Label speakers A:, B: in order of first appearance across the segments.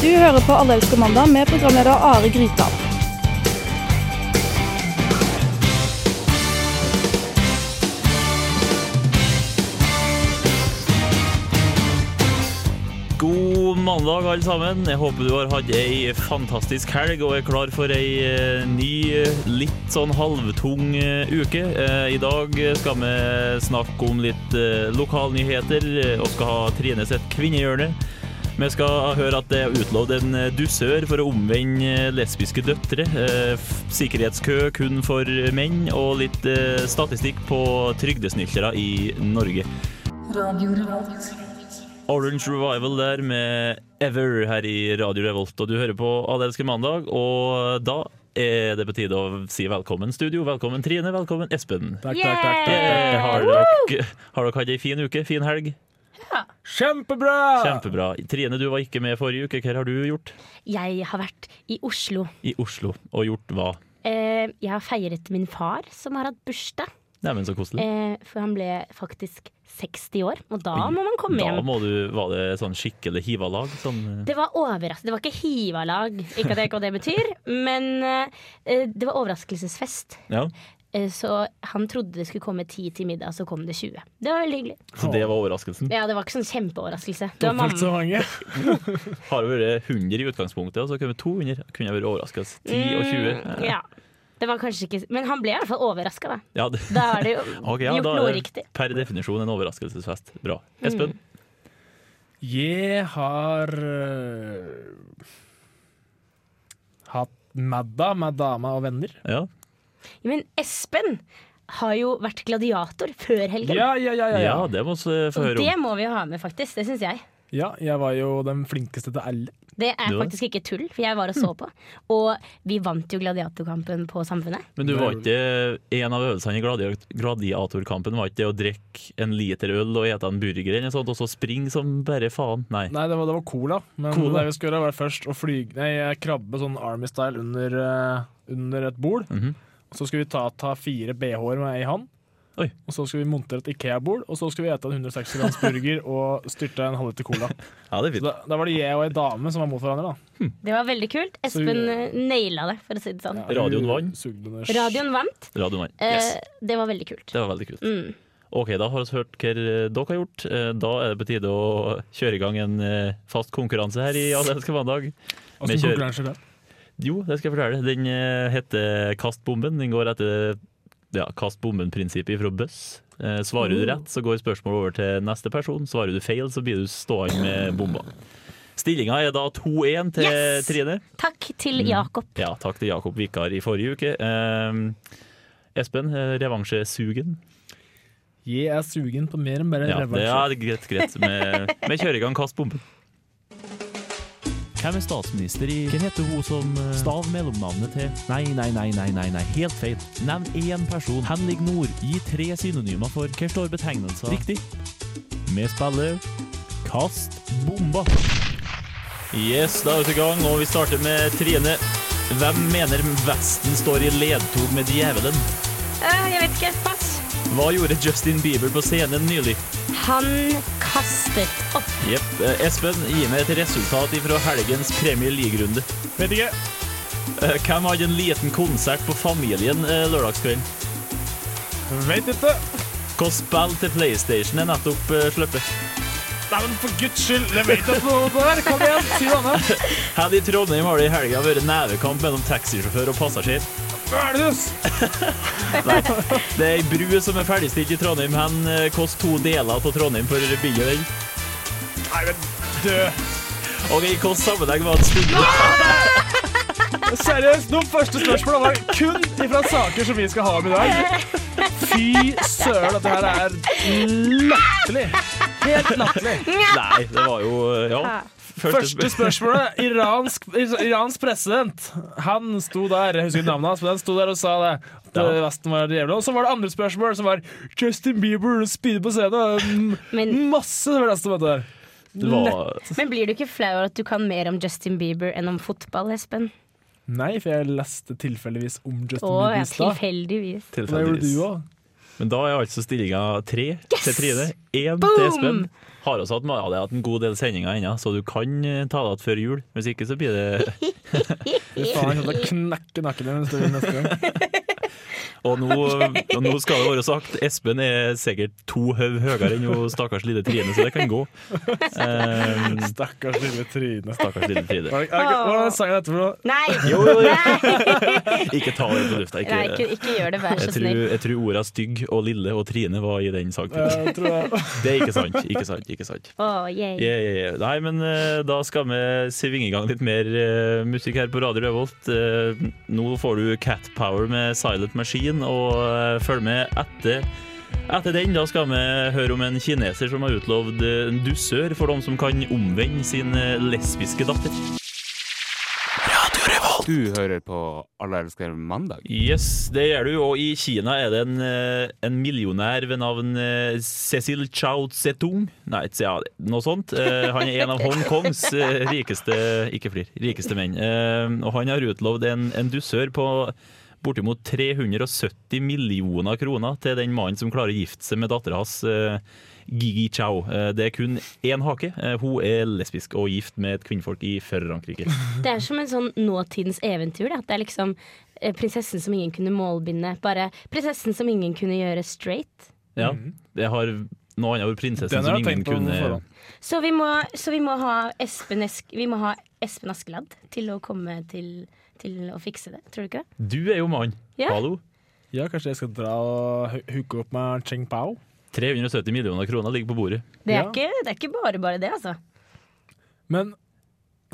A: Du hører på Alle elsker mandag med programleder Are Grytdal.
B: God mandag, alle sammen. Jeg håper du har hatt ei fantastisk helg og er klar for ei eh, ny, eh, litt sånn halvtung eh, uke. Eh, I dag skal vi snakke om litt eh, lokalnyheter eh, og skal ha Trine sitt kvinnehjørne. Vi skal høre at det er utlovd en eh, dusør for å omvende eh, lesbiske døtre. eh, f- Sikkerhetskø kun for menn, og litt eh, statistikk på trygdesnyklere i Norge.
C: Radio Revolt.
B: Orange Revival der med Ever her i Radio Revolt. Og du hører på Alle elsker mandag, og da er det på tide å si velkommen, studio. Velkommen, Trine. Velkommen, Espen.
D: Takk,
E: Yeah!
D: takk, takk, takk,
B: Eh,
D: takk.
B: Har dere, har dere hatt ei fin uke? Fin helg?
D: Kjempebra!
B: Kjempebra. Trine, du var ikke med forrige uke. Hva har du gjort?
E: Jeg har vært i Oslo.
B: I Oslo. Og gjort hva?
E: Eh, jeg har feiret min far, som har hatt bursdag.
B: Neimen, så koselig.
E: Eh, for han ble faktisk 60 år, og da må man komme
B: Da
E: hjem.
B: må du, var det sånn skikkelig hivalag? Sånn, eh,
E: Det var overraskende. Det var ikke hivalag, ikke at jeg vet hva det betyr, men eh, det var overraskelsesfest.
B: ja.
E: Eh, så han trodde det skulle komme 10 til middag, så kom det 20. Det var veldig hyggelig.
B: Så det var overraskelsen.
E: Ja, det var ikke sånn kjempeoverraskelse. Det var
D: Dobbelt så
E: mamma.
D: mange.
B: Har det vært 100 i utgangspunktet, og så kunne 200. Kunne jeg vært overraskelse. 10 og 20.
E: Mm, ja. Det var kanskje ikke Men han ble i hvert fall overraska, da.
B: Ja, det.
E: Da er det jo
B: Ok, ja,
E: gjort
B: da
E: noe
B: er det
E: riktig. Mm.
B: Per definisjon en overraskelsesfest. Bra. Espen,
D: Jeg har eh, hatt madda med dama og venner.
B: ja.
E: Ja, Men Espen har jo vært gladiator før helgen.
D: Ja, ja, ja. ja,
B: ja,
D: ja.
B: det må vi eh, få
E: Og
B: høre
E: det
B: om.
E: må vi jo ha med, faktisk. Det syns jeg.
D: ja jeg var jo den flinkeste til alle.
E: Det er
B: Du da?
E: faktisk ikke tull, for jeg var og så på. Og vi vant jo gladiatorkampen på Samfunnet.
B: Men du var ikke en av øvelsene i gladiat- gladiatorkampen var ikke det å drikke en liter øl og ete en burger eller noe sånt, og så springe som bare faen? Nei.
D: Nei, det var, det var cola. Men
B: Cola?
D: det vi skulle gjøre, var først å flyge Nei, krabbe sånn Army-style under, eh, under et bord.
B: Mhm.
D: Og så skulle vi ta, ta fire BH-er med ei hånd.
B: Oi.
D: Og så skulle vi montere et Ikea-bord, og så skulle vi ete en 160 grams burger og styrte en halvliter cola.
B: Ja, det er
D: Så da, da var det jeg og ei dame som var mot hverandre, da.
E: Det var veldig kult. Espen eh, naila det, for å si det sånn.
D: hun
B: Radioen vant.
D: sugde under-
E: Radioen vant.
B: Radioen vant.
E: Eh,
B: Yes.
E: Det var veldig kult.
B: Det var veldig kult.
E: Mm.
B: OK, da har vi hørt hva dere har gjort. Eh, Da er det på tide å kjøre i gang en eh, fast konkurranse her i Alle elsker mandag.
D: Og
B: Vi
D: så
B: kjører.
D: konkurranser der.
B: Jo, det skal jeg fortelle. Den eh, heter Kast bomben. Den går etter ja, Kast bomben-prinsippet fra Bøss. Eh, Svarer du rett, så går spørsmålet over til neste person. Svarer du feil, så blir du stående med bomba. Stillinga er da 2-1 til
E: Yes!
B: Trine.
E: Takk til
B: Mm.
E: Jakob.
B: Ja, takk til Jakob Vikar i forrige uke. Eh, Espen, eh, revansjesugen.
D: Jeg er sugen på mer enn bare
B: Ja, det
D: revansj.
B: er greit, greit. Vi, vi kjører i gang Kast bomben. Hvem er statsminister i Hvem heter hun som eh, Stav mellomnavnet til Nei, nei, nei, nei, nei, nei. helt feil. Nevn én person. Henrik Nord. Gi tre synonymer for Hva står betegnelser? Riktig. Vi spiller Kast bomba. Yes, da er vi i gang, og vi starter med Trine. Hvem mener Vesten står i ledtog med djevelen?
E: Eh, jeg vet ikke. Pass.
B: Hva gjorde Justin Bieber på scenen nylig?
E: Han kastet opp.
B: Jepp. Eh, Espen, gi meg et resultat ifra helgens Premier League-runde.
D: Vet ikke.
B: Eh, Hvem hadde en liten konsert på Familien eh, lørdagskvelden?
D: Vet ikke.
B: Hvilket spill til PlayStation er nettopp eh, sluppet?
D: Nei, men for guds skyld, jeg vet ikke noe om det der! Kom igjen, si noe annet.
B: Her i Trondheim har det i helga vært nevekamp mellom taxisjåfør og passasjer.
D: Bælhus!
B: Nei, det er ei bru som er ferdigstilt i Trondheim. Hen eh, koster to deler av Trondheim for å bygge den.
D: Nei, men dø!
B: Og i hvilken sammenheng var det stilt?
D: Seriøst, de første spørsmålene var kun ifra saker som vi skal ha om i dag. Fy søren, dette her er latterlig. Helt latterlig.
B: Nei, det var jo eh, Ja.
D: Første spørsmålet. Iransk, iransk president. Han sto der, jeg husker ikke navnet hans, men han sto der og sa det. At
B: Ja.
D: Vesten var djevelen. Og så var det andre spørsmål, som var Justin Bieber spydde på scenen.
B: Mm.
E: Men-
D: Masse var det neste, vet du.
B: Det var
E: Men blir du ikke flau over at du kan mer om Justin Bieber enn om fotball, Espen?
D: Nei, for jeg leste tilfeldigvis om Justin
E: Å,
D: Bieber
E: ja,
D: i stad.
E: tilfeldigvis.
D: Og Det gjorde du òg.
B: Men da er altså stillinga tre til Trine, én til Espen. Har også hatt, ja, det er hatt en god del sendinger ennå, så du kan eh, ta deg igjen før jul. Hvis ikke så blir det
D: Fy faen, jeg kommer til å knekke nakken din en stund neste gang.
B: Og nå, og nå skal det være sagt, Espen er sikkert to høv høyere enn hun stakkars lille Trine, så det kan gå. Eh,
D: Stakkars lille Trine.
B: stakkars lille Trine.
D: Hva er- er- hva er den sangen etterpå?
E: Nei!
B: Jo, jo, jo.
E: Nei,
B: Ikke ta det på lufta.
E: Nei ikke,
B: Ikke,
E: ikke gjør det, vær
B: jeg
E: så
B: tror,
E: snill.
B: jeg tror orda stygg og lille og Trine var i den sangen.
D: Eh, Jeg tror jeg.
B: Det er ikke sant. Ikke sant. ikke sant.
E: Å, yay.
B: Ja, ja, ja. Nei, men eh, da skal vi svinge i gang litt mer eh, musikk her på Radio Revolt. Eh, nå får du Cat Power med Silent Machine, og eh, følg med etter. Etter den da skal vi høre om en kineser som har utlovd eh, en dusør for dem som kan omvende sin eh, lesbiske datter.
F: Du hører på Alle elsker mandag.
B: Yes, det gjør du. Og i Kina er det en, eh, en millionær ved navn eh, Cecil Chow Zetung. Nei, ikke- ja, noe sånt. Eh, Han er en av Hongkongs eh, rikeste ikke flir, rikeste menn. Eh, Og han har utlovd en, en dusør på bortimot 370 millioner kroner til den mannen som klarer å gifte seg med dattera hans, eh, Gigi Chow. Eh, Det er kun én hake. Eh, Hun er lesbisk og gift med et kvinnfolk i Frankrike.
E: Det er som en sånn nåtidens eventyr. Da. Det er liksom eh, prinsessen som ingen kunne målbinde. Bare prinsessen som ingen kunne gjøre straight.
B: Ja, det har noe annet over prinsessen
D: Mhm. Den
B: som
D: har jeg
B: ingen
D: tenkt på på
B: kunne
D: forhånd.
E: Så vi må, så vi må ha Espen, Esk, vi må ha Espen Askeladd til å komme til, til å fikse det. Tror du ikke? det?
B: Du er jo mann.
E: Ja.
B: Hallo.
D: Ja, kanskje jeg skal dra og hu- hooke opp med Cheng Pao?
B: 370 millioner kroner ligger på bordet.
E: Det er,
D: Ja.
E: ikke, det er ikke bare bare det, altså.
D: Men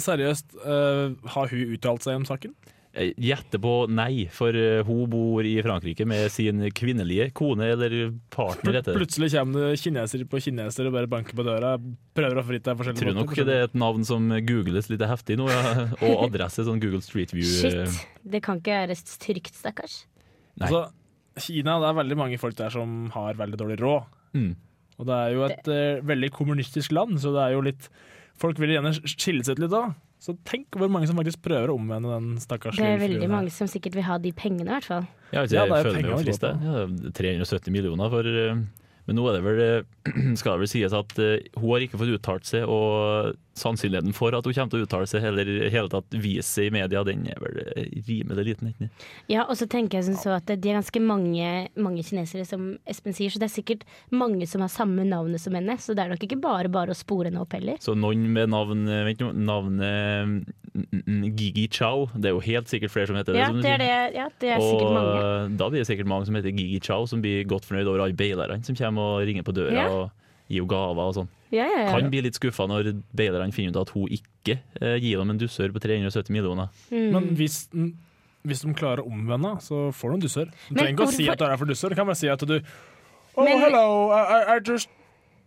D: seriøst, eh, har hun uttalt seg om saken?
B: Jeg Gjetter Eh, på nei, for eh, hun bor i Frankrike med sin kvinnelige kone eller partner.
D: Pl
B: Heter det.
D: plutselig kommer det kinesere på kinesere og bare banker på døra. Prøver å fritte
B: Jeg
D: deg forskjellige
B: tror nok det er et navn som googles litt heftig nå, ja. og adresse sånn Google Street View. eh,
E: Shit. Det kan ikke være trygt, stakkars.
B: Nei.
D: Altså, Kina, det er veldig mange folk der som har veldig dårlig råd.
B: Mm.
D: Og det er jo et eh, veldig kommunistisk land, så det er jo litt Folk vil gjerne skille seg ut litt da. Så tenk hvor mange som faktisk prøver å omvende den stakkars
E: Det er
D: lille
E: veldig
D: fruen her.
E: mange som sikkert vil ha de pengene, i hvert fall.
B: Jeg vet ikke,
D: Ja, det er
B: jeg føler
D: penger
B: meg jo
D: å gå
B: frista. Ja, 370 millioner for eh, Men nå er det vel eh, skal det vel sies at eh, hun har ikke fått uttalt seg, og sannsynligheten for at hun kommer til å uttale seg, eller i hele tatt vise seg i media, den er vel eh, rimelig liten. ikke?
E: Ja, og så tenker jeg som så at De er ganske mange, mange kinesere, som Espen sier, så det er sikkert mange som har samme navnet som henne. Så det er nok ikke bare bare å spore henne opp heller.
B: Så noen med navn eh, Vent nå, navnet mm, mm, Gigi Chow. Det er jo helt sikkert flere som heter det.
E: Ja,
B: som du
E: det
B: sier.
E: er, det, ja, det er sikkert
B: og
E: mange.
B: da blir det sikkert mange som heter Gigi Chow, som blir godt fornøyd over alle bailerne som kommer og ringer på døra
E: Ja.
B: og gir henne gaver og sånn.
E: Ja, ja, ja.
B: Kan bli litt skuffa når bailerne finner ut at hun ikke eh, gir dem en dusør på 370 millioner.
D: Men
E: Mm.
D: hvis, den- hvis de klarer å omvende, så får de en dusør. Du
E: Men
D: trenger ikke å si
E: hvorfor-
D: at du er her for dusør, du kan bare si at du Oh,
E: Men-
D: hello, I, I- I just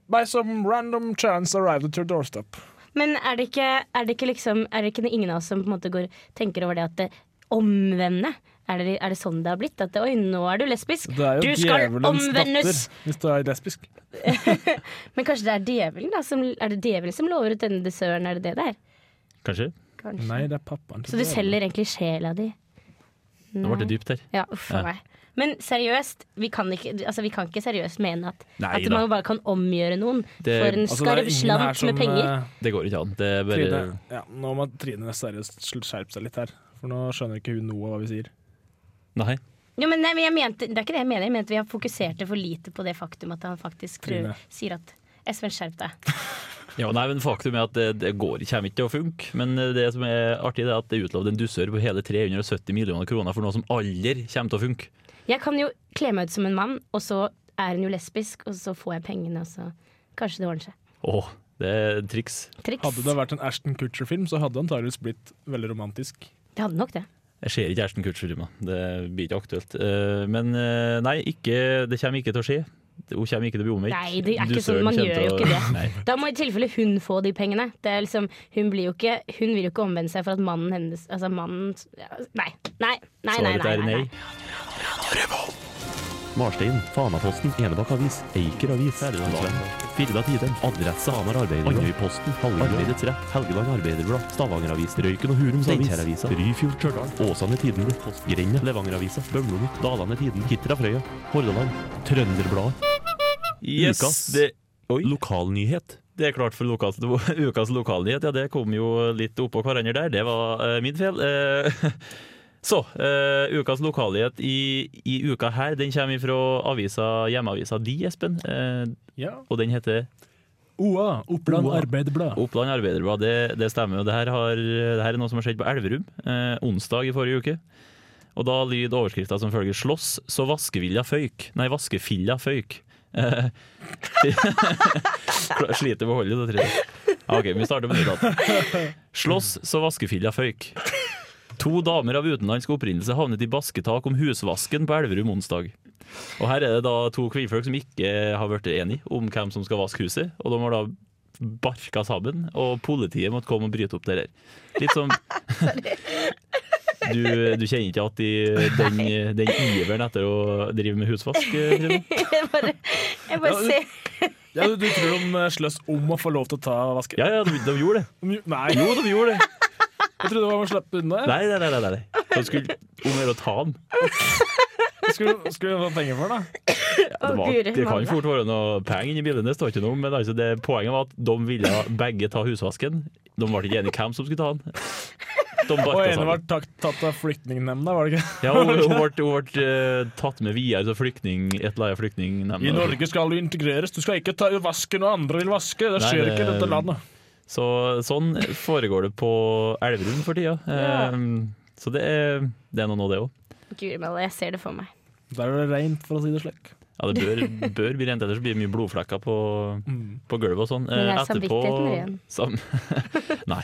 D: by some random chance arrived at your doorstep.
E: Men er det ikke, er det ikke, liksom, er det ikke ingen av oss som på en måte går, tenker over det at det omvende? Er det, er det sånn det har blitt? At det, Oi, nå er du lesbisk.
D: Det er jo
E: Du skal
D: djevelens
E: omvendes!
D: datter hvis du er lesbisk.
E: Men kanskje det er djevelen da som, Er det djevelen som lover ut denne dessøren? Er det det der?
B: Kanskje?
E: Kanskje.
D: Nei, det er pappaen til
E: Så du
D: djevelen.
E: selger egentlig sjela di?
B: Nå ble det
E: Mm.
B: dypt her.
E: Ja, uff
B: Ja.
E: a meg. Men seriøst, vi kan ikke, altså, vi kan ikke seriøst mene at,
B: Nei
E: at
B: da.
E: man bare kan omgjøre noen
B: Det-
E: for en
D: Altså, det er
E: skarv
D: ingen her
E: slant
D: som,
E: med penger.
D: eh,
B: Det går ikke an. Det er bare
D: Trine, ja, nå må Trine seriøst sl- skjerpe seg litt her. For nå skjønner ikke hun noe av hva vi sier.
B: Nei.
E: Jo, men nei, men jeg mente, det er ikke det jeg mener. Jeg mente vi har fokusert for lite på det faktum at han faktisk
D: Trine.
E: prøver, sier at Espen, skjerp deg.
B: Ja, nei, men Faktum er at det, det går, kommer ikke til å funke. Men eh, det som er artig, det er at det er utlovd en dusør på hele 370 millioner kroner for noe som aldri kommer til å funke.
E: Jeg kan jo kle meg ut som en mann, og så er hun jo lesbisk, og så får jeg pengene, og så kanskje det ordner seg.
B: Åh, det er et triks.
E: Triks.
D: Hadde det vært en Ashton Kutcher-film, så hadde det antageligvis blitt veldig romantisk.
E: Det hadde nok det.
B: Jeg ser ikke Ashton Kutcher-filmer. Det blir ikke aktuelt. Eh, Men eh, nei, ikke, det kommer ikke til å skje. Hun kommer ikke til å bli omvendt.
E: Nei, det er ikke
B: Dusøren
E: sånn. Man
B: kommer til
E: gjør jo
B: å-
E: ikke det.
B: Nei.
E: Da må i tilfelle hun få de pengene. Det er liksom, hun, blir jo ikke, hun vil jo ikke omvende seg for at mannen hennes Altså mannen ja, Nei. Nei, nei, nei.
B: Svaret
E: nei,
B: er
E: nei,
B: nei.
E: nei.
G: Marstein, Fanaposten, Enebakk Avis, Eiker Avis, Firda Tiden, Adresse Hamar Arbeiderblad, Andøyposten, Arbeidets Rett, Helgeland Arbeiderblad, Stavanger Avis, Røyken og Hurums Avis, Steinkjer-avisa, Ryfjord Stjørdal, Åsane Tidenblad, Grenda, Levanger-avisa, Bømlo Nytt, Dalane Tiden, Hitra Frøya, Hordaland, Trønderbladet,
B: Yes,
G: Ukas
B: det,
G: Lokalnyhet.
B: det er klart for lokalt, ukas lokalnyhet. Ja, det kom jo litt oppå hverandre der. Det var uh, min feil. Eh, så, eh, ukas lokalnyhet i, i uka her, den kommer fra avisa, hjemmeavisa di, Espen. Eh,
D: Ja.
B: og den heter
D: OA, Oppland
B: OA.
D: Arbeiderblad.
B: Oppland Arbeiderblad, det, det stemmer. jo. Det her, har, det her er noe som har skjedd på Elverum eh, onsdag i forrige uke. Og da lyder overskrifta som følger 'Slåss så vaskevilla føyk'. Nei, vaskefilla føyk. Eh, Sliter med å holde det, tror jeg. Ja, OK, vi starter på nytt. igjen. 'Slåss så vaskefilla føyk'. To damer av utenlandsk opprinnelse havnet i basketak om husvasken på Elverum onsdag. Og her er det da to kvinnfolk som ikke har blitt enige om hvem som skal vaske huset, og de har da barka sammen, og politiet måtte komme og bryte opp det der. Litt som du, du kjenner ikke at de, den, den iveren etter å drive med husvask? eh, Frida?
E: Jeg bare, jeg
D: Ja,
E: bare
D: du-
E: ser
D: Ja, du, du tror de eh, sløs om å få lov til å ta vasken?
B: Ja, ja, de, de gjorde det.
D: De gj- Nei, jo, de gjorde det. Jeg trodde det var å slippe unna. jeg.
B: Nei, nei, nei. nei, nei. De skulle om å gjøre å ta den.
D: Skulle skulle du få penger for det? da?
B: Det,
E: Å,
B: var,
E: Guri,
B: det kan
E: mandag.
B: fort være noe penger inni bildet, det står ikke noe om, men altså det, poenget var at de ville begge ta husvasken. De ble ikke enige hvem som skulle ta den. De
D: Og
B: barka
D: ene
B: sammen.
D: var tak- tatt av flyktningnemnda, var det ikke?
B: Ja, hun, hun ble, hun ble eh, tatt med videre til flyktning, et eller annet flyktningnemnd.
D: I Norge skal du integreres, du skal ikke ta vaske når andre vil vaske. Det
B: Nei,
D: skjer
B: det-
D: ikke i dette landet.
B: Så sånn foregår det på Elverum for tida.
E: Ja.
B: Ehm, Så det er, det er noe nå, det òg.
E: Guri malla, jeg ser det for meg.
D: Der er det reint, for å si det slik.
B: Ja, det bør, bør bli rent, ellers blir det mye blodflekker på,
D: Mm.
B: på gulvet og sånn.
E: Men er
B: Eh,
E: samvittigheten
B: sam, Nei.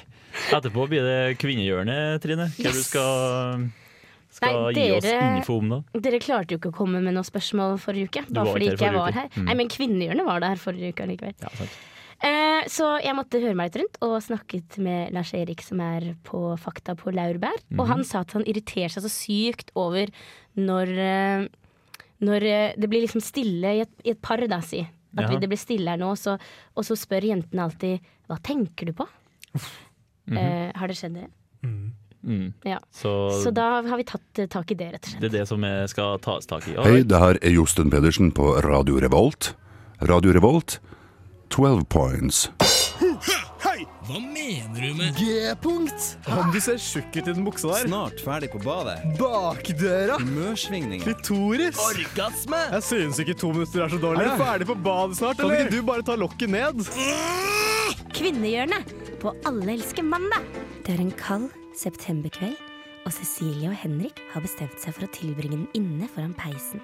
B: Etterpå blir det kvinnehjørnet, Trine. Hva du
E: Yes!
B: skal, skal
E: Nei,
B: gi oss
E: dere-
B: info om da?
E: Dere klarte jo ikke å komme med noen spørsmål forrige uke.
B: var
E: Bare fordi
B: ikke
E: ikke
B: her
E: jeg var
B: forrige
E: her.
B: uke. Mm.
E: Nei, men kvinnehjørnet var der forrige uke likevel.
B: Ja, sant.
E: Eh, så jeg måtte høre meg litt rundt og snakket med Lars Erik, som er på Fakta på Laurbær. Og han sa at han irriterer seg så sykt over når, eh, når eh, det blir liksom stille i et, i et par, da, si. At
B: Ja.
E: det blir stille her nå, så, og så spør jentene alltid hva tenker du på? eh, har det skjedd, dere?
B: Mm.
E: Ja.
B: Så,
E: Så da har vi tatt eh, tak i det, rett og slett.
B: det er det som jeg skal tas tak i.
H: Hei, det her er Josten Pedersen på Radio Revolt. Radio Revolt, 12 points.
I: Hva mener du med
J: G-punkt.
D: Om du ser tjukk ut i den buksa
I: Snart ferdig på badet.
J: Bakdøra.
I: Mørsvingninger.
J: Klitoris.
I: Orgasme!
J: Jeg synes ikke to minutter er så dårlig.
D: Er du
J: ferdig på badet snart, kan Kan ikke du bare ta lokket ned?
E: Kvinnehjørnet på Alle elsker mandag. Det er en kald septemberkveld, og Cecilie og Henrik har bestemt seg for å tilbringe den inne foran peisen.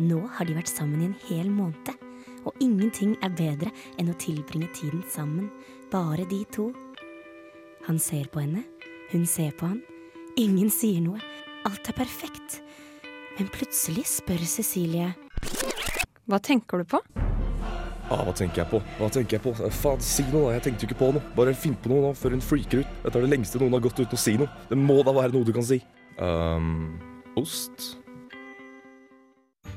E: Nå har de vært sammen i en hel måned, og ingenting er bedre enn å tilbringe tiden sammen, bare de to. Han ser på henne, hun ser på han. Ingen sier noe. Alt er perfekt. Men plutselig spør Cecilie
K: Hva tenker du på?
L: Ah, hva tenker jeg på? Hva tenker jeg på? Eh, Faen, si noe da. Jeg tenkte jo ikke på noe. Bare finn på noe nå, før hun freaker ut. Dette er det lengste noen har gått uten å si noe. Det må da være noe du kan si. Ehm, ost?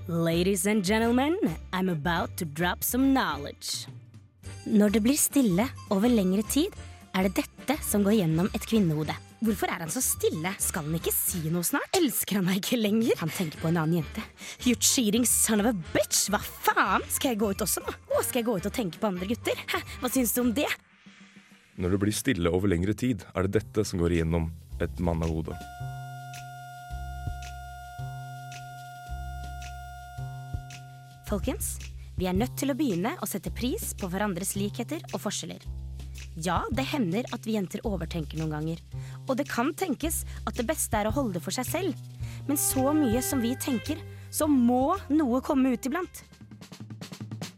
E: Ladies and gentlemen, I'm about to drop some knowledge. Når det blir stille over lengre tid, er det dette som går gjennom et kvinnehode. Hvorfor er han så stille? Skal han ikke si noe snart? Elsker han meg ikke lenger? Han tenker på en annen jente. You cheating son of a bitch! Hva faen? Skal jeg gå ut også nå? Å, skal jeg gå ut og tenke på andre gutter? Hæ, hva syns du om det?
L: Når det blir stille over lengre tid, er det dette som går igjennom et mannehode.
E: Folkens, vi er nødt til å begynne å sette pris på hverandres likheter og forskjeller. Ja, det hender at vi jenter overtenker noen ganger. Og det kan tenkes at det beste er å holde det for seg selv. Men så mye som vi tenker, så må noe komme ut iblant.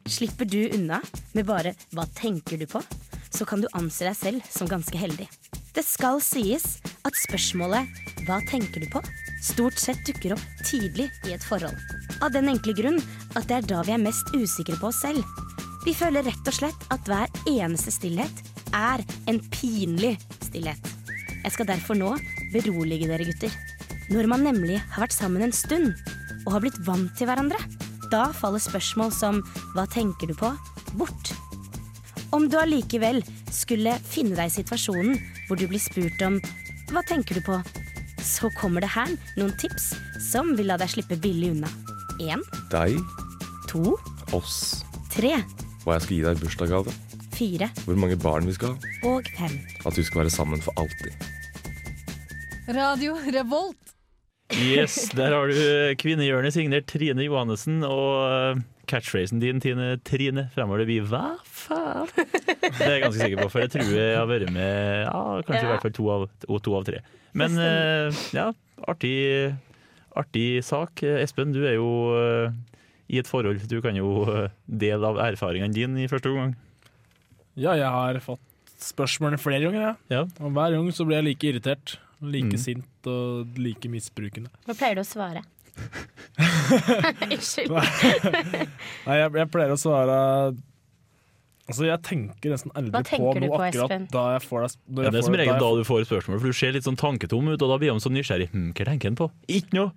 E: Slipper du unna med bare 'hva tenker du på', så kan du anse deg selv som ganske heldig. Det skal sies at spørsmålet 'hva tenker du på' stort sett dukker opp tidlig i et forhold. Av den enkle grunn at det er da vi er mest usikre på oss selv. Vi føler rett og slett at hver eneste stillhet er en pinlig stillhet. Jeg skal derfor nå berolige dere gutter. Når man nemlig har vært sammen en stund, og har blitt vant til hverandre. Da faller spørsmål som 'hva tenker du på?' bort. Om du allikevel skulle finne deg i situasjonen hvor du blir spurt om 'hva tenker du på?', så kommer det her noen tips som vil la deg slippe billig unna. Én,
L: Deg,
E: to,
L: oss,
E: tre,
L: hva jeg skal gi deg i bursdagsgave,
E: fire
L: hvor mange barn vi skal ha,
E: og fem.
L: at vi skal være sammen for alltid.
C: Radio Revolt.
B: Yes, der har du kvinnehjørnet signert Trine Johannessen, og eh, catchphrasen din, Tine Trine, fremover det blir hva faen? Det er jeg ganske sikker på, for jeg tror jeg har vært med ja, kanskje i
M: Ja.
B: hvert fall to av, og to av tre. Men
M: Det
B: eh, ja, artig, artig sak. Eh, Espen, du er jo eh, i et forhold, du kan jo eh, dele av erfaringene dine i første omgang.
D: Ja, jeg har fått spørsmålene flere ganger, jeg. Og hver gang så blir jeg like irritert. Like
B: Mm.
D: sint og like misbrukende.
E: Hva pleier du å svare? Unnskyld.
D: Nei, jeg, jeg pleier å svare Altså, jeg tenker nesten aldri
E: Hva
D: på
E: tenker du
D: noe
E: på,
D: akkurat
E: Espen?
D: da jeg får det når
B: Ja,
D: jeg
B: det er
D: får
B: som regel
D: jeg
B: da
D: får-
B: du får spørsmål, for du ser litt sånn tanketom ut, og da blir han så nysgjerrig. Hm, hva tenker han på? Ikke noe!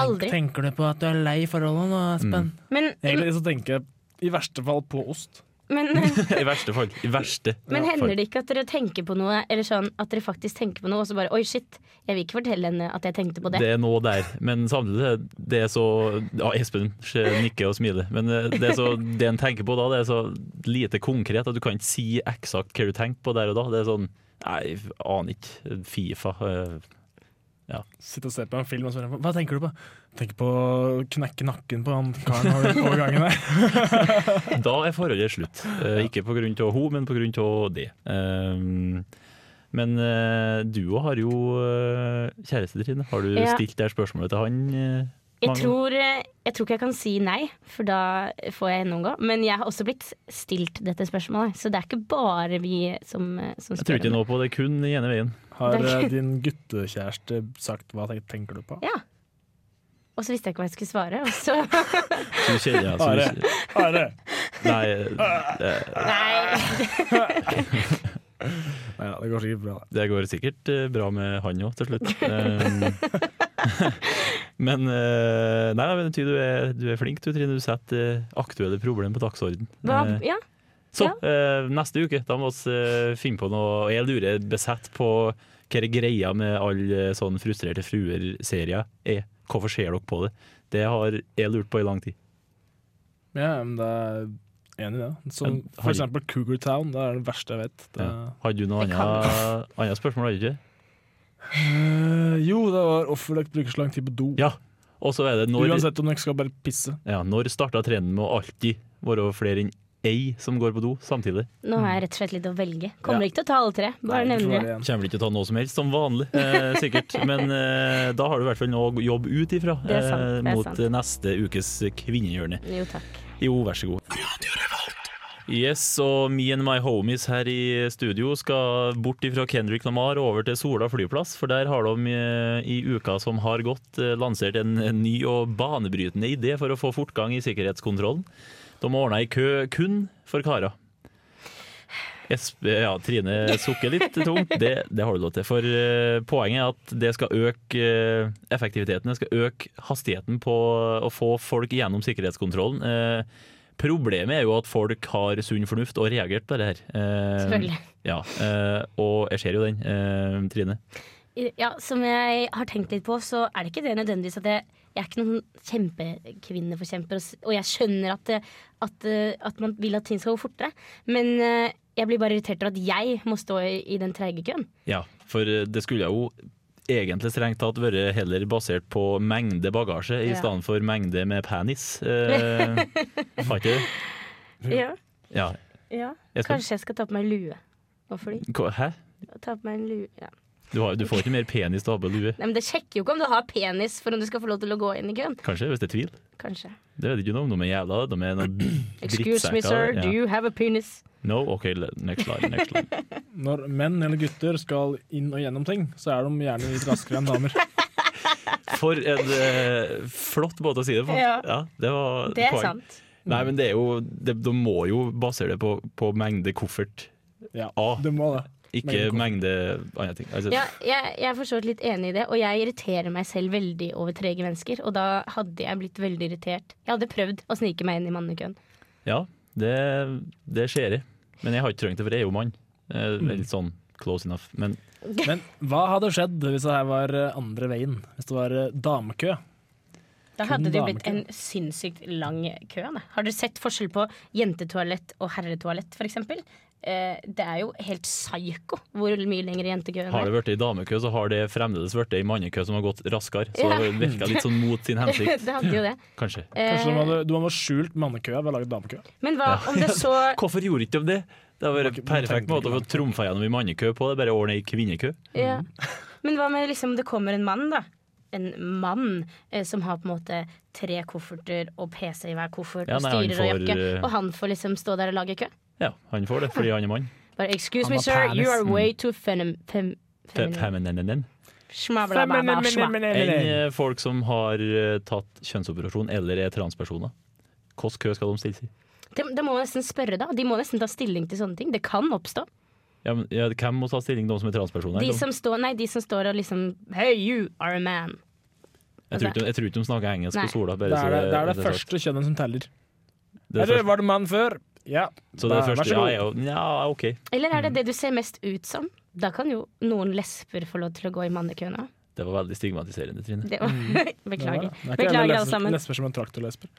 E: Aldri.
D: Tenker du på at du er lei forholdet nå,
B: Mm.
D: Espen?
E: Men-
D: Egentlig så tenker jeg i verste fall på ost.
E: Men
B: I verste fall. I verste
E: Men hender det ikke at dere tenker på noe, eller sånn at dere faktisk tenker på noe, og så bare oi, shit, jeg vil ikke fortelle henne at jeg tenkte på det.
B: Det er noe der, men samtidig er det er så ja, Espen nikker og smiler, men eh, det, er så, det en tenker på da, det er så lite konkret at du kan ikke si eksakt hva du tenker på der og da. Det er sånn Nei, jeg aner ikke. Fifa. eh, Ja.
D: Sitte og se på en film og spørre hva tenker du på? Tenker på å knekke nakken på han karen over over gangen der.
B: Da er forholdet slutt. Eh, Ikke pga. hun, men pga. det. Um, Men eh, du har jo eh, kjæreste, Trine. Har du
E: Ja.
B: stilt det her spørsmålet til han? eh,
E: Jeg
B: mange ganger?
E: tror, eh, jeg tror ikke jeg kan si nei, for da får jeg henne omgå. Men jeg har også blitt stilt dette spørsmålet, så det er ikke bare vi som, eh, som
B: Jeg tror
E: spør.
B: ikke
E: om
B: noe på det, kun den ene veien.
D: Har
E: Det er
D: eh,
E: ikke-
D: din guttekjæreste sagt hva tenk- tenker du på?
E: det. Ja. Og så visste jeg ikke hva jeg skulle svare, og så
B: Så du kjenner, ja, så du
D: Are.
B: kjenner.
D: Are!
B: Nei, eh,
D: Ja, det går sikkert bra.
B: det går sikkert eh, bra med han òg til slutt. Eh, Men eh, nei, nei, men det betyr du er, du er flink, du Trine. Du setter eh, aktuelle problemer på dagsorden.
E: hva,
B: Eh,
E: Ja.
B: Så eh, neste uke da må vi eh, finne på noe. Jeg lurer besatt på hva er greia med alle sånn frustrerte fruer-serier er. Hvorfor ser dere på det? Det har jeg lurt på i lang tid.
D: Ja, men det er enig i det. Som
B: Men har-
D: for eksempel Cougar Town. Det er det verste jeg vet. Det...
B: Ja. Har du noe
D: Det
B: annet, annet spørsmål? Har du ikke?
D: Eh, jo, det var offerløkt bruker så lang tid på do.
B: Ja, Og så er det når
D: Uansett om dere skal bare pisse.
B: Ja, når starta trenden med å alltid være flere enn ei som går på do samtidig?
E: Nå har jeg rett og slett litt å velge. Kommer
B: Ja.
E: ikke til å ta alle tre, bare nevner det.
B: Kommer vel ikke til å ta noe som helst, som vanlig, eh, sikkert. Men eh, da har du i hvert fall noe å jobbe ut ifra
E: Det er sant,
B: eh,
E: det er
B: mot
E: sant.
B: eh, neste ukes Kvinnehjørne.
E: Jo, takk.
B: Jo, vær så god. Yes, og me and my homies her i studio skal bort ifra Kendrick Lamar og over til Sola flyplass, for der har de eh, i uka som har gått eh, lansert en en ny og banebrytende idé for å få fortgang i sikkerhetskontrollen. De har ordna ei kø kun for karer. Esp- Ja, Trine sukker litt tungt, det, det har du lov til. For eh, poenget er at det skal øke eh, effektiviteten, det skal øke hastigheten på å få folk gjennom sikkerhetskontrollen. Eh, problemet er jo at folk har sunn fornuft og reagert på det her. Eh,
E: Selvfølgelig.
B: Ja, eh, og jeg ser jo den, eh, Trine.
E: Ja, som jeg har tenkt litt på, så er det ikke det nødvendigvis at jeg, jeg er ikke noen kjempekvinneforkjemper, og s- og jeg skjønner at, det- at, eh, at man vil at ting skal gå fortere, men eh, jeg blir bare irritert over at jeg må stå i, i den treige køen.
B: Ja, for eh, det skulle jo egentlig strengt tatt vært heller basert på mengde bagasje i
E: Ja.
B: stedet for mengde med penis. Eh, har ikke det?
E: Ja,
B: Mm. Ja.
E: ja.
B: Espen?
E: Kanskje jeg skal ta på meg lue og fly.
B: Hva- Hæ?
E: Ta på meg en lue, ja.
B: Du, har, du får ikke mer penis til å ha på lue.
E: Nei, men Det sjekker jo ikke om du har penis for om du skal få lov til å gå inn i køen.
B: Kanskje, hvis det er tvil.
E: Kanskje.
B: Det vet jeg ikke noe om. De er jævla de er noen
E: Excuse
B: drittsekker.
E: me, sir,
B: Ja.
E: do you have a penis?
B: No, OK, le- next line. Next line.
D: Når menn eller gutter skal inn og gjennom ting, så er de gjerne litt raskere enn damer.
B: For en eh, flott måte å si det på.
D: Ja.
B: det, var
D: Det er
B: poeng.
D: sant.
B: Nei, men det er jo det, De må jo basere det på, på mengde koffert.
D: Ja,
B: A.
D: Du må det.
B: Ikke mengde andre ting. Altså,
E: Ja, jeg, jeg er for så vidt litt enig i det, og jeg irriterer meg selv veldig over trege mennesker. Og da hadde jeg blitt veldig irritert. Jeg hadde prøvd å snike meg inn i mannekøen.
B: Ja, det, det skjer jeg. Men jeg har ikke trengt det, for jeg er jo mann. Eh,
E: Mm.
B: det er Litt sånn close enough. Men
D: Men hva hadde skjedd hvis det her var eh, andre veien? Hvis det var eh, damekø?
E: Da
D: Kun
E: hadde det jo blitt en
D: damekø.
E: sinnssykt lang kø. Da. Har dere sett forskjell på jentetoalett og herretoalett, f.eks.? Eh, det er jo helt psyko hvor mye lengre jentekøen
B: har det
E: er.
B: blitt i damekø, så har det fremdeles blitt i mannekø som har gått raskere. Så
E: Ja.
B: det virka litt sånn mot sin hensikt.
E: Det hadde jo det.
B: Kanskje.
D: Kanskje
E: Eh.
D: de hadde, de hadde skjult mannekøa ved å lage damekø?
E: Men hva
B: Ja.
E: om det så
B: Hvorfor gjorde ikke de det? Det hadde vært en perfekt måte å få trumfa gjennom i mannekø på. Det er bare å ordne i kvinnekø.
E: ja. Men hva med liksom det kommer en mann, da? En mann eh, som har på en måte tre kofferter og PC i hver koffert
B: Ja,
E: og
B: nei, han
E: styrer og
B: får,
E: jakke,
B: eh,
E: og han får liksom stå der og lage kø?
B: Ja, han får det fordi han er mann.
E: Bare 'excuse
B: Han
E: me,
B: har
E: sir, you
B: penis.
E: are
B: Mm.
E: way too fenim... Fem,
B: Fe-
E: feminine."
B: feminine.
E: Schmabla, bla, bla, schma.
B: Enn eh, folk som har eh, tatt kjønnsoperasjon eller er transpersoner. Hvilken kø skal de stilles i?
E: Det, det må man nesten spørre, da. De må nesten ta stilling til sånne ting. Det kan oppstå.
B: Ja, men, ja, hvem må ta stilling, de som er transpersoner?
E: De
B: De-
E: som står, nei, de som står og liksom Hey, you are a man.
B: Jeg tror, ikke, jeg tror ikke de snakker engelsk
E: Nei.
B: på Sola.
D: Det
B: Bare, så
D: er det, det, er det
B: sagt.
D: første kjønnet som teller.
B: Det er det
D: Eller var du mann før? Ja.
B: Så det
D: Da-
B: første,
D: vær så
B: ja,
D: god.
B: er jo- ja, OK.
E: Eller
B: Mm.
E: er det det du ser mest ut som? Da kan jo noen lesber få lov til å gå i mannekøen òg.
B: Det var veldig stigmatiserende, Trine.
E: Det var- Beklager.
D: Det er ikke
E: Beklager,
D: alle
E: alle sammen.
D: lesber som er traktorlesber.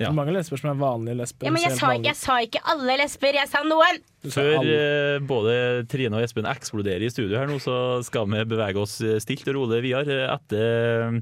D: Det er mange lesber som er vanlige lesber.
E: Ja, men jeg
D: helt
E: sa,
D: vanlige.
E: jeg sa ikke alle lesber, jeg sa noen!
B: Før eh, både Trine og Espen eksploderer i studio her nå, så skal vi bevege oss eh, stilt og rolig videre. Eh, Etter,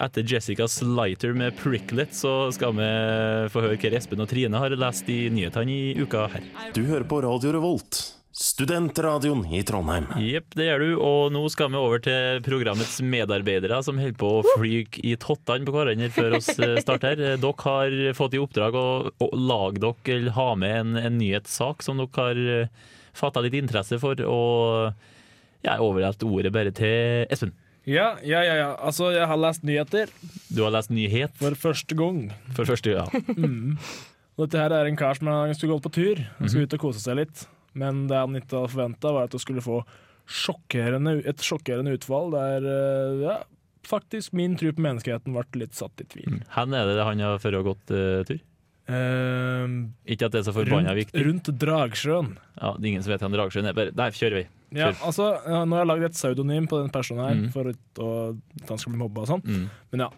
B: etter Jessica Slighter med 'Pricklet' så skal vi få høre hva Espen og Trine har lest i nyhetene i uka her.
G: Du hører på Radio Revolt, studentradioen i Trondheim.
B: Jepp, det gjør du. Og nå skal vi over til programmets medarbeidere som holder på å flyke i tottene på hverandre før oss eh, starter her. Eh, Dere har fått i oppdrag å, å lage dere eller ha med en, en nyhetssak som dere har fatta litt interesse for, og jeg overlater ordet bare til Espen.
D: Ja, ja, ja, ja. Altså, jeg har lest nyheter.
B: Du har lest nyhet?
D: For første gang.
B: For første gang, ja.
D: Mm. Og dette her er en kar som han skulle gått på tur. Han
B: Mhm.
D: skulle ut og kose seg litt. Men det han ikke hadde forventa, var at det skulle få sjokkerende, et sjokkerende utfall der eh, ja, faktisk min tro på menneskeheten ble litt satt i tvil.
B: Hvor Mm. er det han har før og gått eh, tur? Ikke at det er så forbanna
D: Eh, rundt,
B: viktig.
D: rundt Dragsjøen.
B: Ja, det er ingen som vet han Dragsjøen er. Bare, der kjører vi.
D: Ja,
B: Kjør.
D: altså, ja, nå har jeg lagd et pseudonym på den personen her,
B: Mm.
D: for at å- at han skal bli mobba og sånn.
B: Mm.
D: Men ja.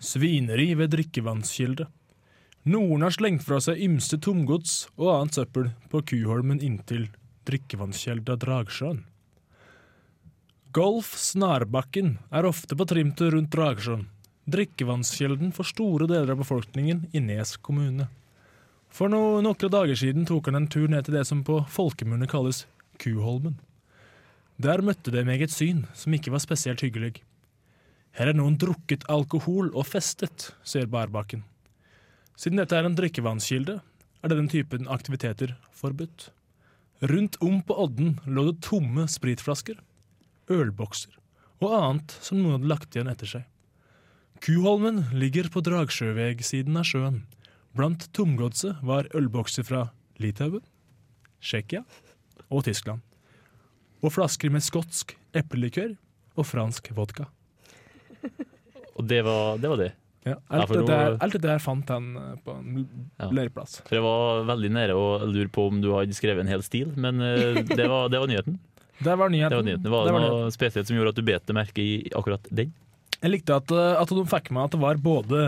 D: Svineri ved drikkevannskilde. Noen har slengt fra seg ymse tomgods og annet søppel på Kuholmen inntil drikkevannskjelda Dragsjøen. Golf Snarbakken er ofte på trimtur rundt Dragsjøen. Drikkevannskjelden for store deler av befolkningen i Nes kommune. For no noen dager siden tok han en tur ned til det som på folkemunne kalles Kuholmen. Der møtte de meg et syn som ikke var spesielt hyggelig. Her er noen drukket alkohol og festet, sier Barbakken. Siden dette er en drikkevannskilde, er denne typen aktiviteter forbudt. Rundt om på odden lå det tomme spritflasker, ølbokser og annet som noen hadde lagt igjen etter seg. Kuholmen ligger på Dragsjøveg-siden av sjøen. Blant tomgodset var ølbokser fra Litauen, Tsjekkia og Tyskland. Og flasker med skotsk eplelikør og fransk vodka.
B: Og det var det. Var det.
D: Ja,
B: Ja,
D: alt,
B: for
D: det der,
B: nå-
D: alt det der fant han eh, på en
B: Ja.
D: leirplass.
B: For jeg var veldig nære å lure på om du hadde skrevet en hel stil, men eh, det var, det var nyheten.
D: Der var nyheten.
B: Det var nyheten. Var
D: Der
B: det
D: var
B: noe spesielt som gjorde at du bet deg merke i akkurat den?
D: Jeg likte at, eh, at de fikk med at det var både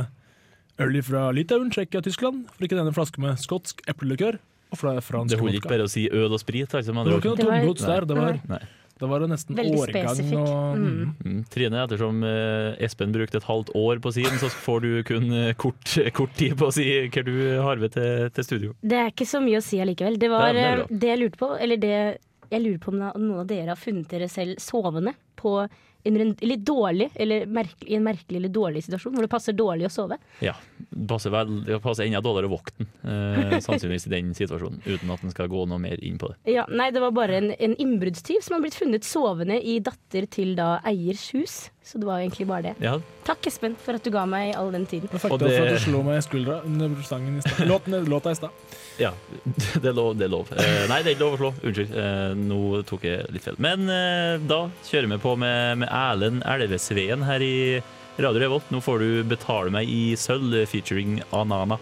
D: øl fra Litauen, Tsjekkia og Tyskland, for ikke denne flasken med skotsk eplelikør og fra fransk
B: Det holder ikke
D: vodka.
B: bare å si øl og sprit. Altså, med
D: Det var
B: andre
D: ikke noe
B: ord.
D: tomgods der, det var,
B: Nei.
D: det var nesten
E: Veldig
D: årgang
E: spesifikk.
D: og
E: Mm.
B: Mm. Trine, ettersom eh, Espen brukte et halvt år på sin, så får du kun eh, kort, kort tid på å si hva du har med til, til studio.
E: Det er ikke så mye å si allikevel. Det var
B: Det er-
E: eh,
B: det er bra.
E: det jeg lurte på, eller det jeg lurer på om da- om noen av dere har funnet dere selv sovende på under en litt dårlig, eller merkelig, i en merkelig eller dårlig situasjon, hvor det passer dårlig å sove.
B: Ja. Det passer, vel, det passer enda dårligere vokten, eh, sannsynligvis i den situasjonen, uten at en skal gå noe mer inn på det.
E: Ja, nei, det var bare en, en innbruddstyv som har blitt funnet sovende i datter til da eiers hus. Så det var jo egentlig bare det.
B: Ja.
E: Takk, Espen, for at du ga meg all den tiden.
D: Takk for at du slo meg i skuldra under sangen i stad. Låten, låta i stad.
B: Ja, det er lov. Det er lov. Eh, nei, det er ikke lov å slå. Unnskyld. Eh, nå tok jeg litt feil. Men eh, da kjører vi på med, med Erlend Elvesveen her i Radio Revolt. Nå får du 'Betale meg i sølv' featuring Anana.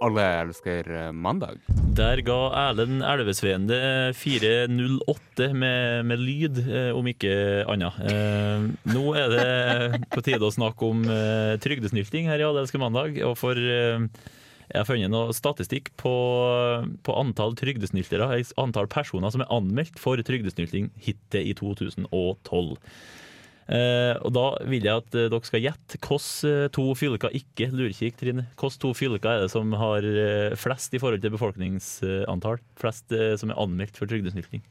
F: Alle elsker eh, mandag.
B: Der ga Erlend Elvesveen det eh, 4.08 med, med lyd, eh, om ikke annet. Eh, nå er det på tide å snakke om eh, trygdesnylting her i Allelske mandag. Og for eh, jeg har funnet noe statistikk på, på antall trygdesnyltere, eh, antall personer som er anmeldt for trygdesnylting hittil i 2012. Eh, og da vil jeg at eh, dere skal gjette hvilke to fylker ikke lurekikk, Trine. Hvilke to fylker er det som har eh, flest i forhold til befolkningsantall? Flest eh, som er anmeldt for trygdesnylting?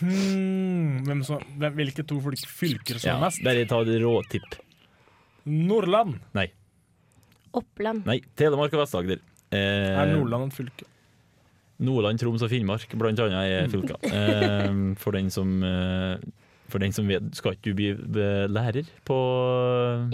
D: Hmm, hvem som, hvem, hvilke to folk- fylker som er mest?
B: bare ta et råtipp.
D: Nordland.
B: Nei.
E: Oppland.
B: Nei. Telemark og Vest-Agder. Eh,
D: Er Nordland et fylke?
B: Nordland, Troms og Finnmark blant annet
D: Mm.
B: er fylka. Eh, for den som eh, For den som vet, skal ikke du bli eh, lærer på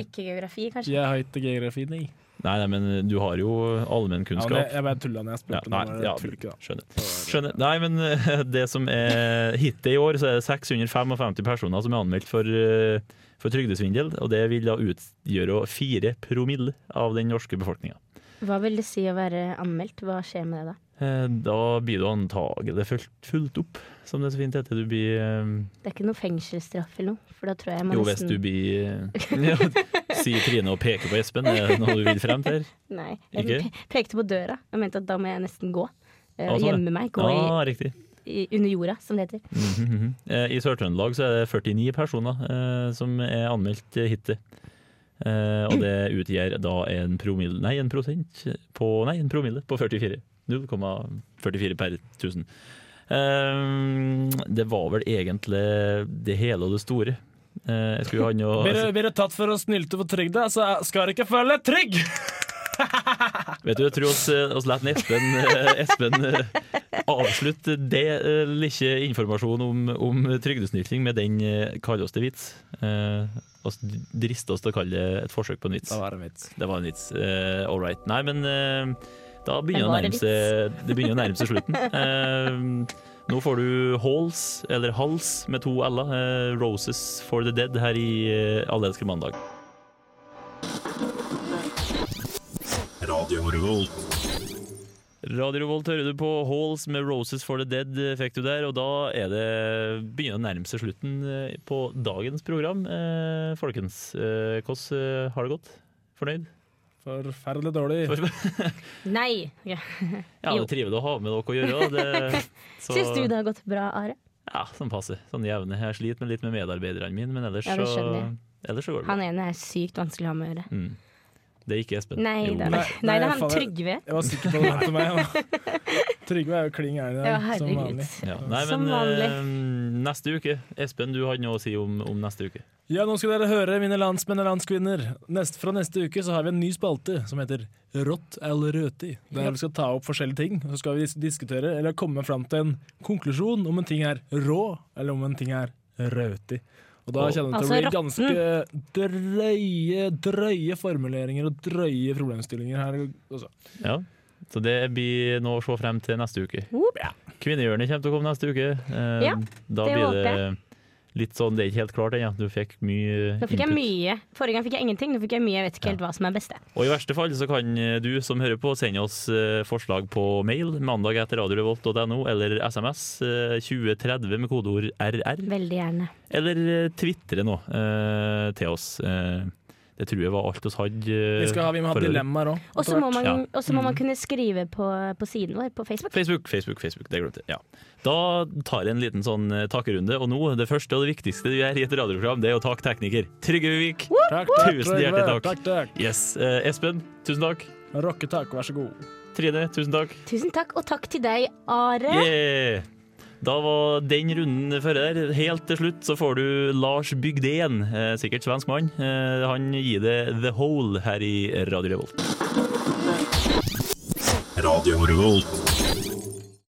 E: Ikke geografi, kanskje?
D: Jeg har ikke geografi, nei.
B: Nei, nei, men du har jo
D: Ja,
B: allmennkunnskap.
D: men jeg, jeg bare tulla når jeg
B: Ja,
D: spurte.
B: nei,
D: om det var
B: ja,
D: et fylke, da.
B: skjønner. skjønner. Nei, men eh, det som er hittil i år, så er det 655 personer som er anmeldt for, eh, for trygdesvindel, og det vil da utgjøre fire promille av den norske befolkninga.
E: Hva vil det si å være anmeldt? Hva skjer med det da?
B: Eh, Da blir du antagelig fulgt, fulgt opp, som det så fint heter. Du blir eh,
E: Det er ikke noe fengselsstraff eller noe? For da tror jeg jeg må
B: Jo, hvis
E: nesten
B: du blir eh, ja, Sier Trine og peker på Espen, er det noe du vil frem til?
E: Nei. Jeg
B: Ikke?
E: pe- pekte på døra. Jeg mente at da må jeg nesten gå. Eh,
B: Ah, sånn, ja.
E: gjemme meg. Gå
B: Ah,
E: i,
B: riktig.
E: i, under jorda, som det heter.
B: Mhm, mhm. Eh, I Sør-Trøndelag så er det 49 personer eh, som er anmeldt eh, hittil. Eh, og det utgjør da en promille Nei, en prosent på, nei, en promille på 44. 0,44 per 1000. Eh, det var vel egentlig det hele og det store. Eh, jeg skulle ha
D: Blir
B: noe
D: du- Blir du tatt for å snylte for trygda, så skal du ikke føle deg trygg!
B: Vet du, jeg tror oss, eh, oss lette Espen, eh, Espen eh, avslutte det eh, lille informasjon om, om trygdesnylting med den eh, kall oss til vits. Eh, oss driste oss til å kalle det et forsøk på en vits.
D: Det var en vits.
B: Det var en vits. Eh, all right. Nei, men eh, da
D: Det
B: begynner det å
D: var en
B: nærme seg, det begynner å nærme seg slutten. Eh, nå får du Halls, eller Hals, med to l-er. Eh, Roses for the Dead her i eh, Allelsker mandag.
N: Radio Revolt.
B: Radio Revolt hører du på Halls med Roses for the Dead eh, fikk du der, og da er det begynner å nærme seg slutten eh, på dagens program. Eh, folkens, eh, hvordan eh, har det gått? Fornøyd?
D: Forferdelig dårlig.
E: Nei! Ja,
B: Ja, det er trivelig å ha med dere å gjøre. da. Det, så-
E: Syns du det har gått bra, Are?
B: Ja, sånn passe. Sånn jevne. Jeg sliter med litt med medarbeiderne mine, men ellers,
E: Ja, det
B: så,
E: skjønner
B: ellers så går det bra.
E: Han ene er sykt vanskelig å ha med å gjøre.
B: Mm. Det er ikke Espen.
E: Nei,
B: Jo.
E: det er, nei, det er han
D: fader,
E: Trygve.
D: Jeg var sikker på det mente meg. ja. Trygve er jo kling gæren i
E: Ja,
D: dag, som
E: herregud.
D: vanlig.
B: Ja. Nei,
D: Som
B: men
D: vanlig.
B: eh, neste uke. Espen, du hadde noe å si om, om neste uke.
D: Ja, nå skal dere høre, mine landsmenn og landskvinner. Nest, fra neste uke så har vi en ny spalte som heter Rått eller røti. Der vi skal ta opp forskjellige ting, og så skal vi dis- diskutere eller komme fram til en konklusjon om en ting er rå, eller om en ting er røti. Og da
B: Og-
D: kjenner det til å
B: Altså
D: bli ganske
B: råtten.
D: drøye, drøye formuleringer og drøye problemstillinger her Altså. også.
B: Ja. Så det blir noe å se frem til neste uke.
E: Whoop.
B: Kvinnehjørnet kommer til å komme neste uke. Eh,
E: Ja,
B: da
E: det
B: blir
E: håper jeg.
B: det litt sånn, det er ikke helt klart ennå. Du fikk mye
E: Nå fikk jeg mye. Forrige gang fikk jeg ingenting, nå fikk jeg mye. Jeg vet ikke helt hva som er beste.
B: Og i verste fall så kan eh, du som hører på sende oss eh, forslag på mail mandag etter radiorevolt.no eller SMS eh, 2030 med kodeord RR.
E: Veldig gjerne.
B: Eller eh, twitre nå eh, til oss. Eh, det tror jeg var alt oss hadde. eh,
D: Vi skal ha, vi må ha
B: for øvrig.
D: dilemmaer òg.
E: Og så må, man,
B: Ja.
E: og så må
B: Mm.
E: man kunne skrive på, på siden vår på Facebook.
B: Facebook, Facebook, Facebook. Det glemte jeg. Ja. Da tar jeg en liten sånn eh, takkerunde. Og nå, det første og det viktigste du gjør i et radioprogram, det er å takke tekniker Trygve Vivik.
D: Takk,
B: Tusen hjertelig takk. Yes. Eh, Espen, tusen takk.
D: Rocketak, vær så god.
B: Trine, tusen takk.
E: Tusen takk, og takk til deg, Are.
B: Yeah. Da var den runden før der. Helt til slutt så får du Lars Bygden, eh, sikkert svensk mann. Eh, Han gir det The Hole her i Radio Revolt.
O: Radio Revolt.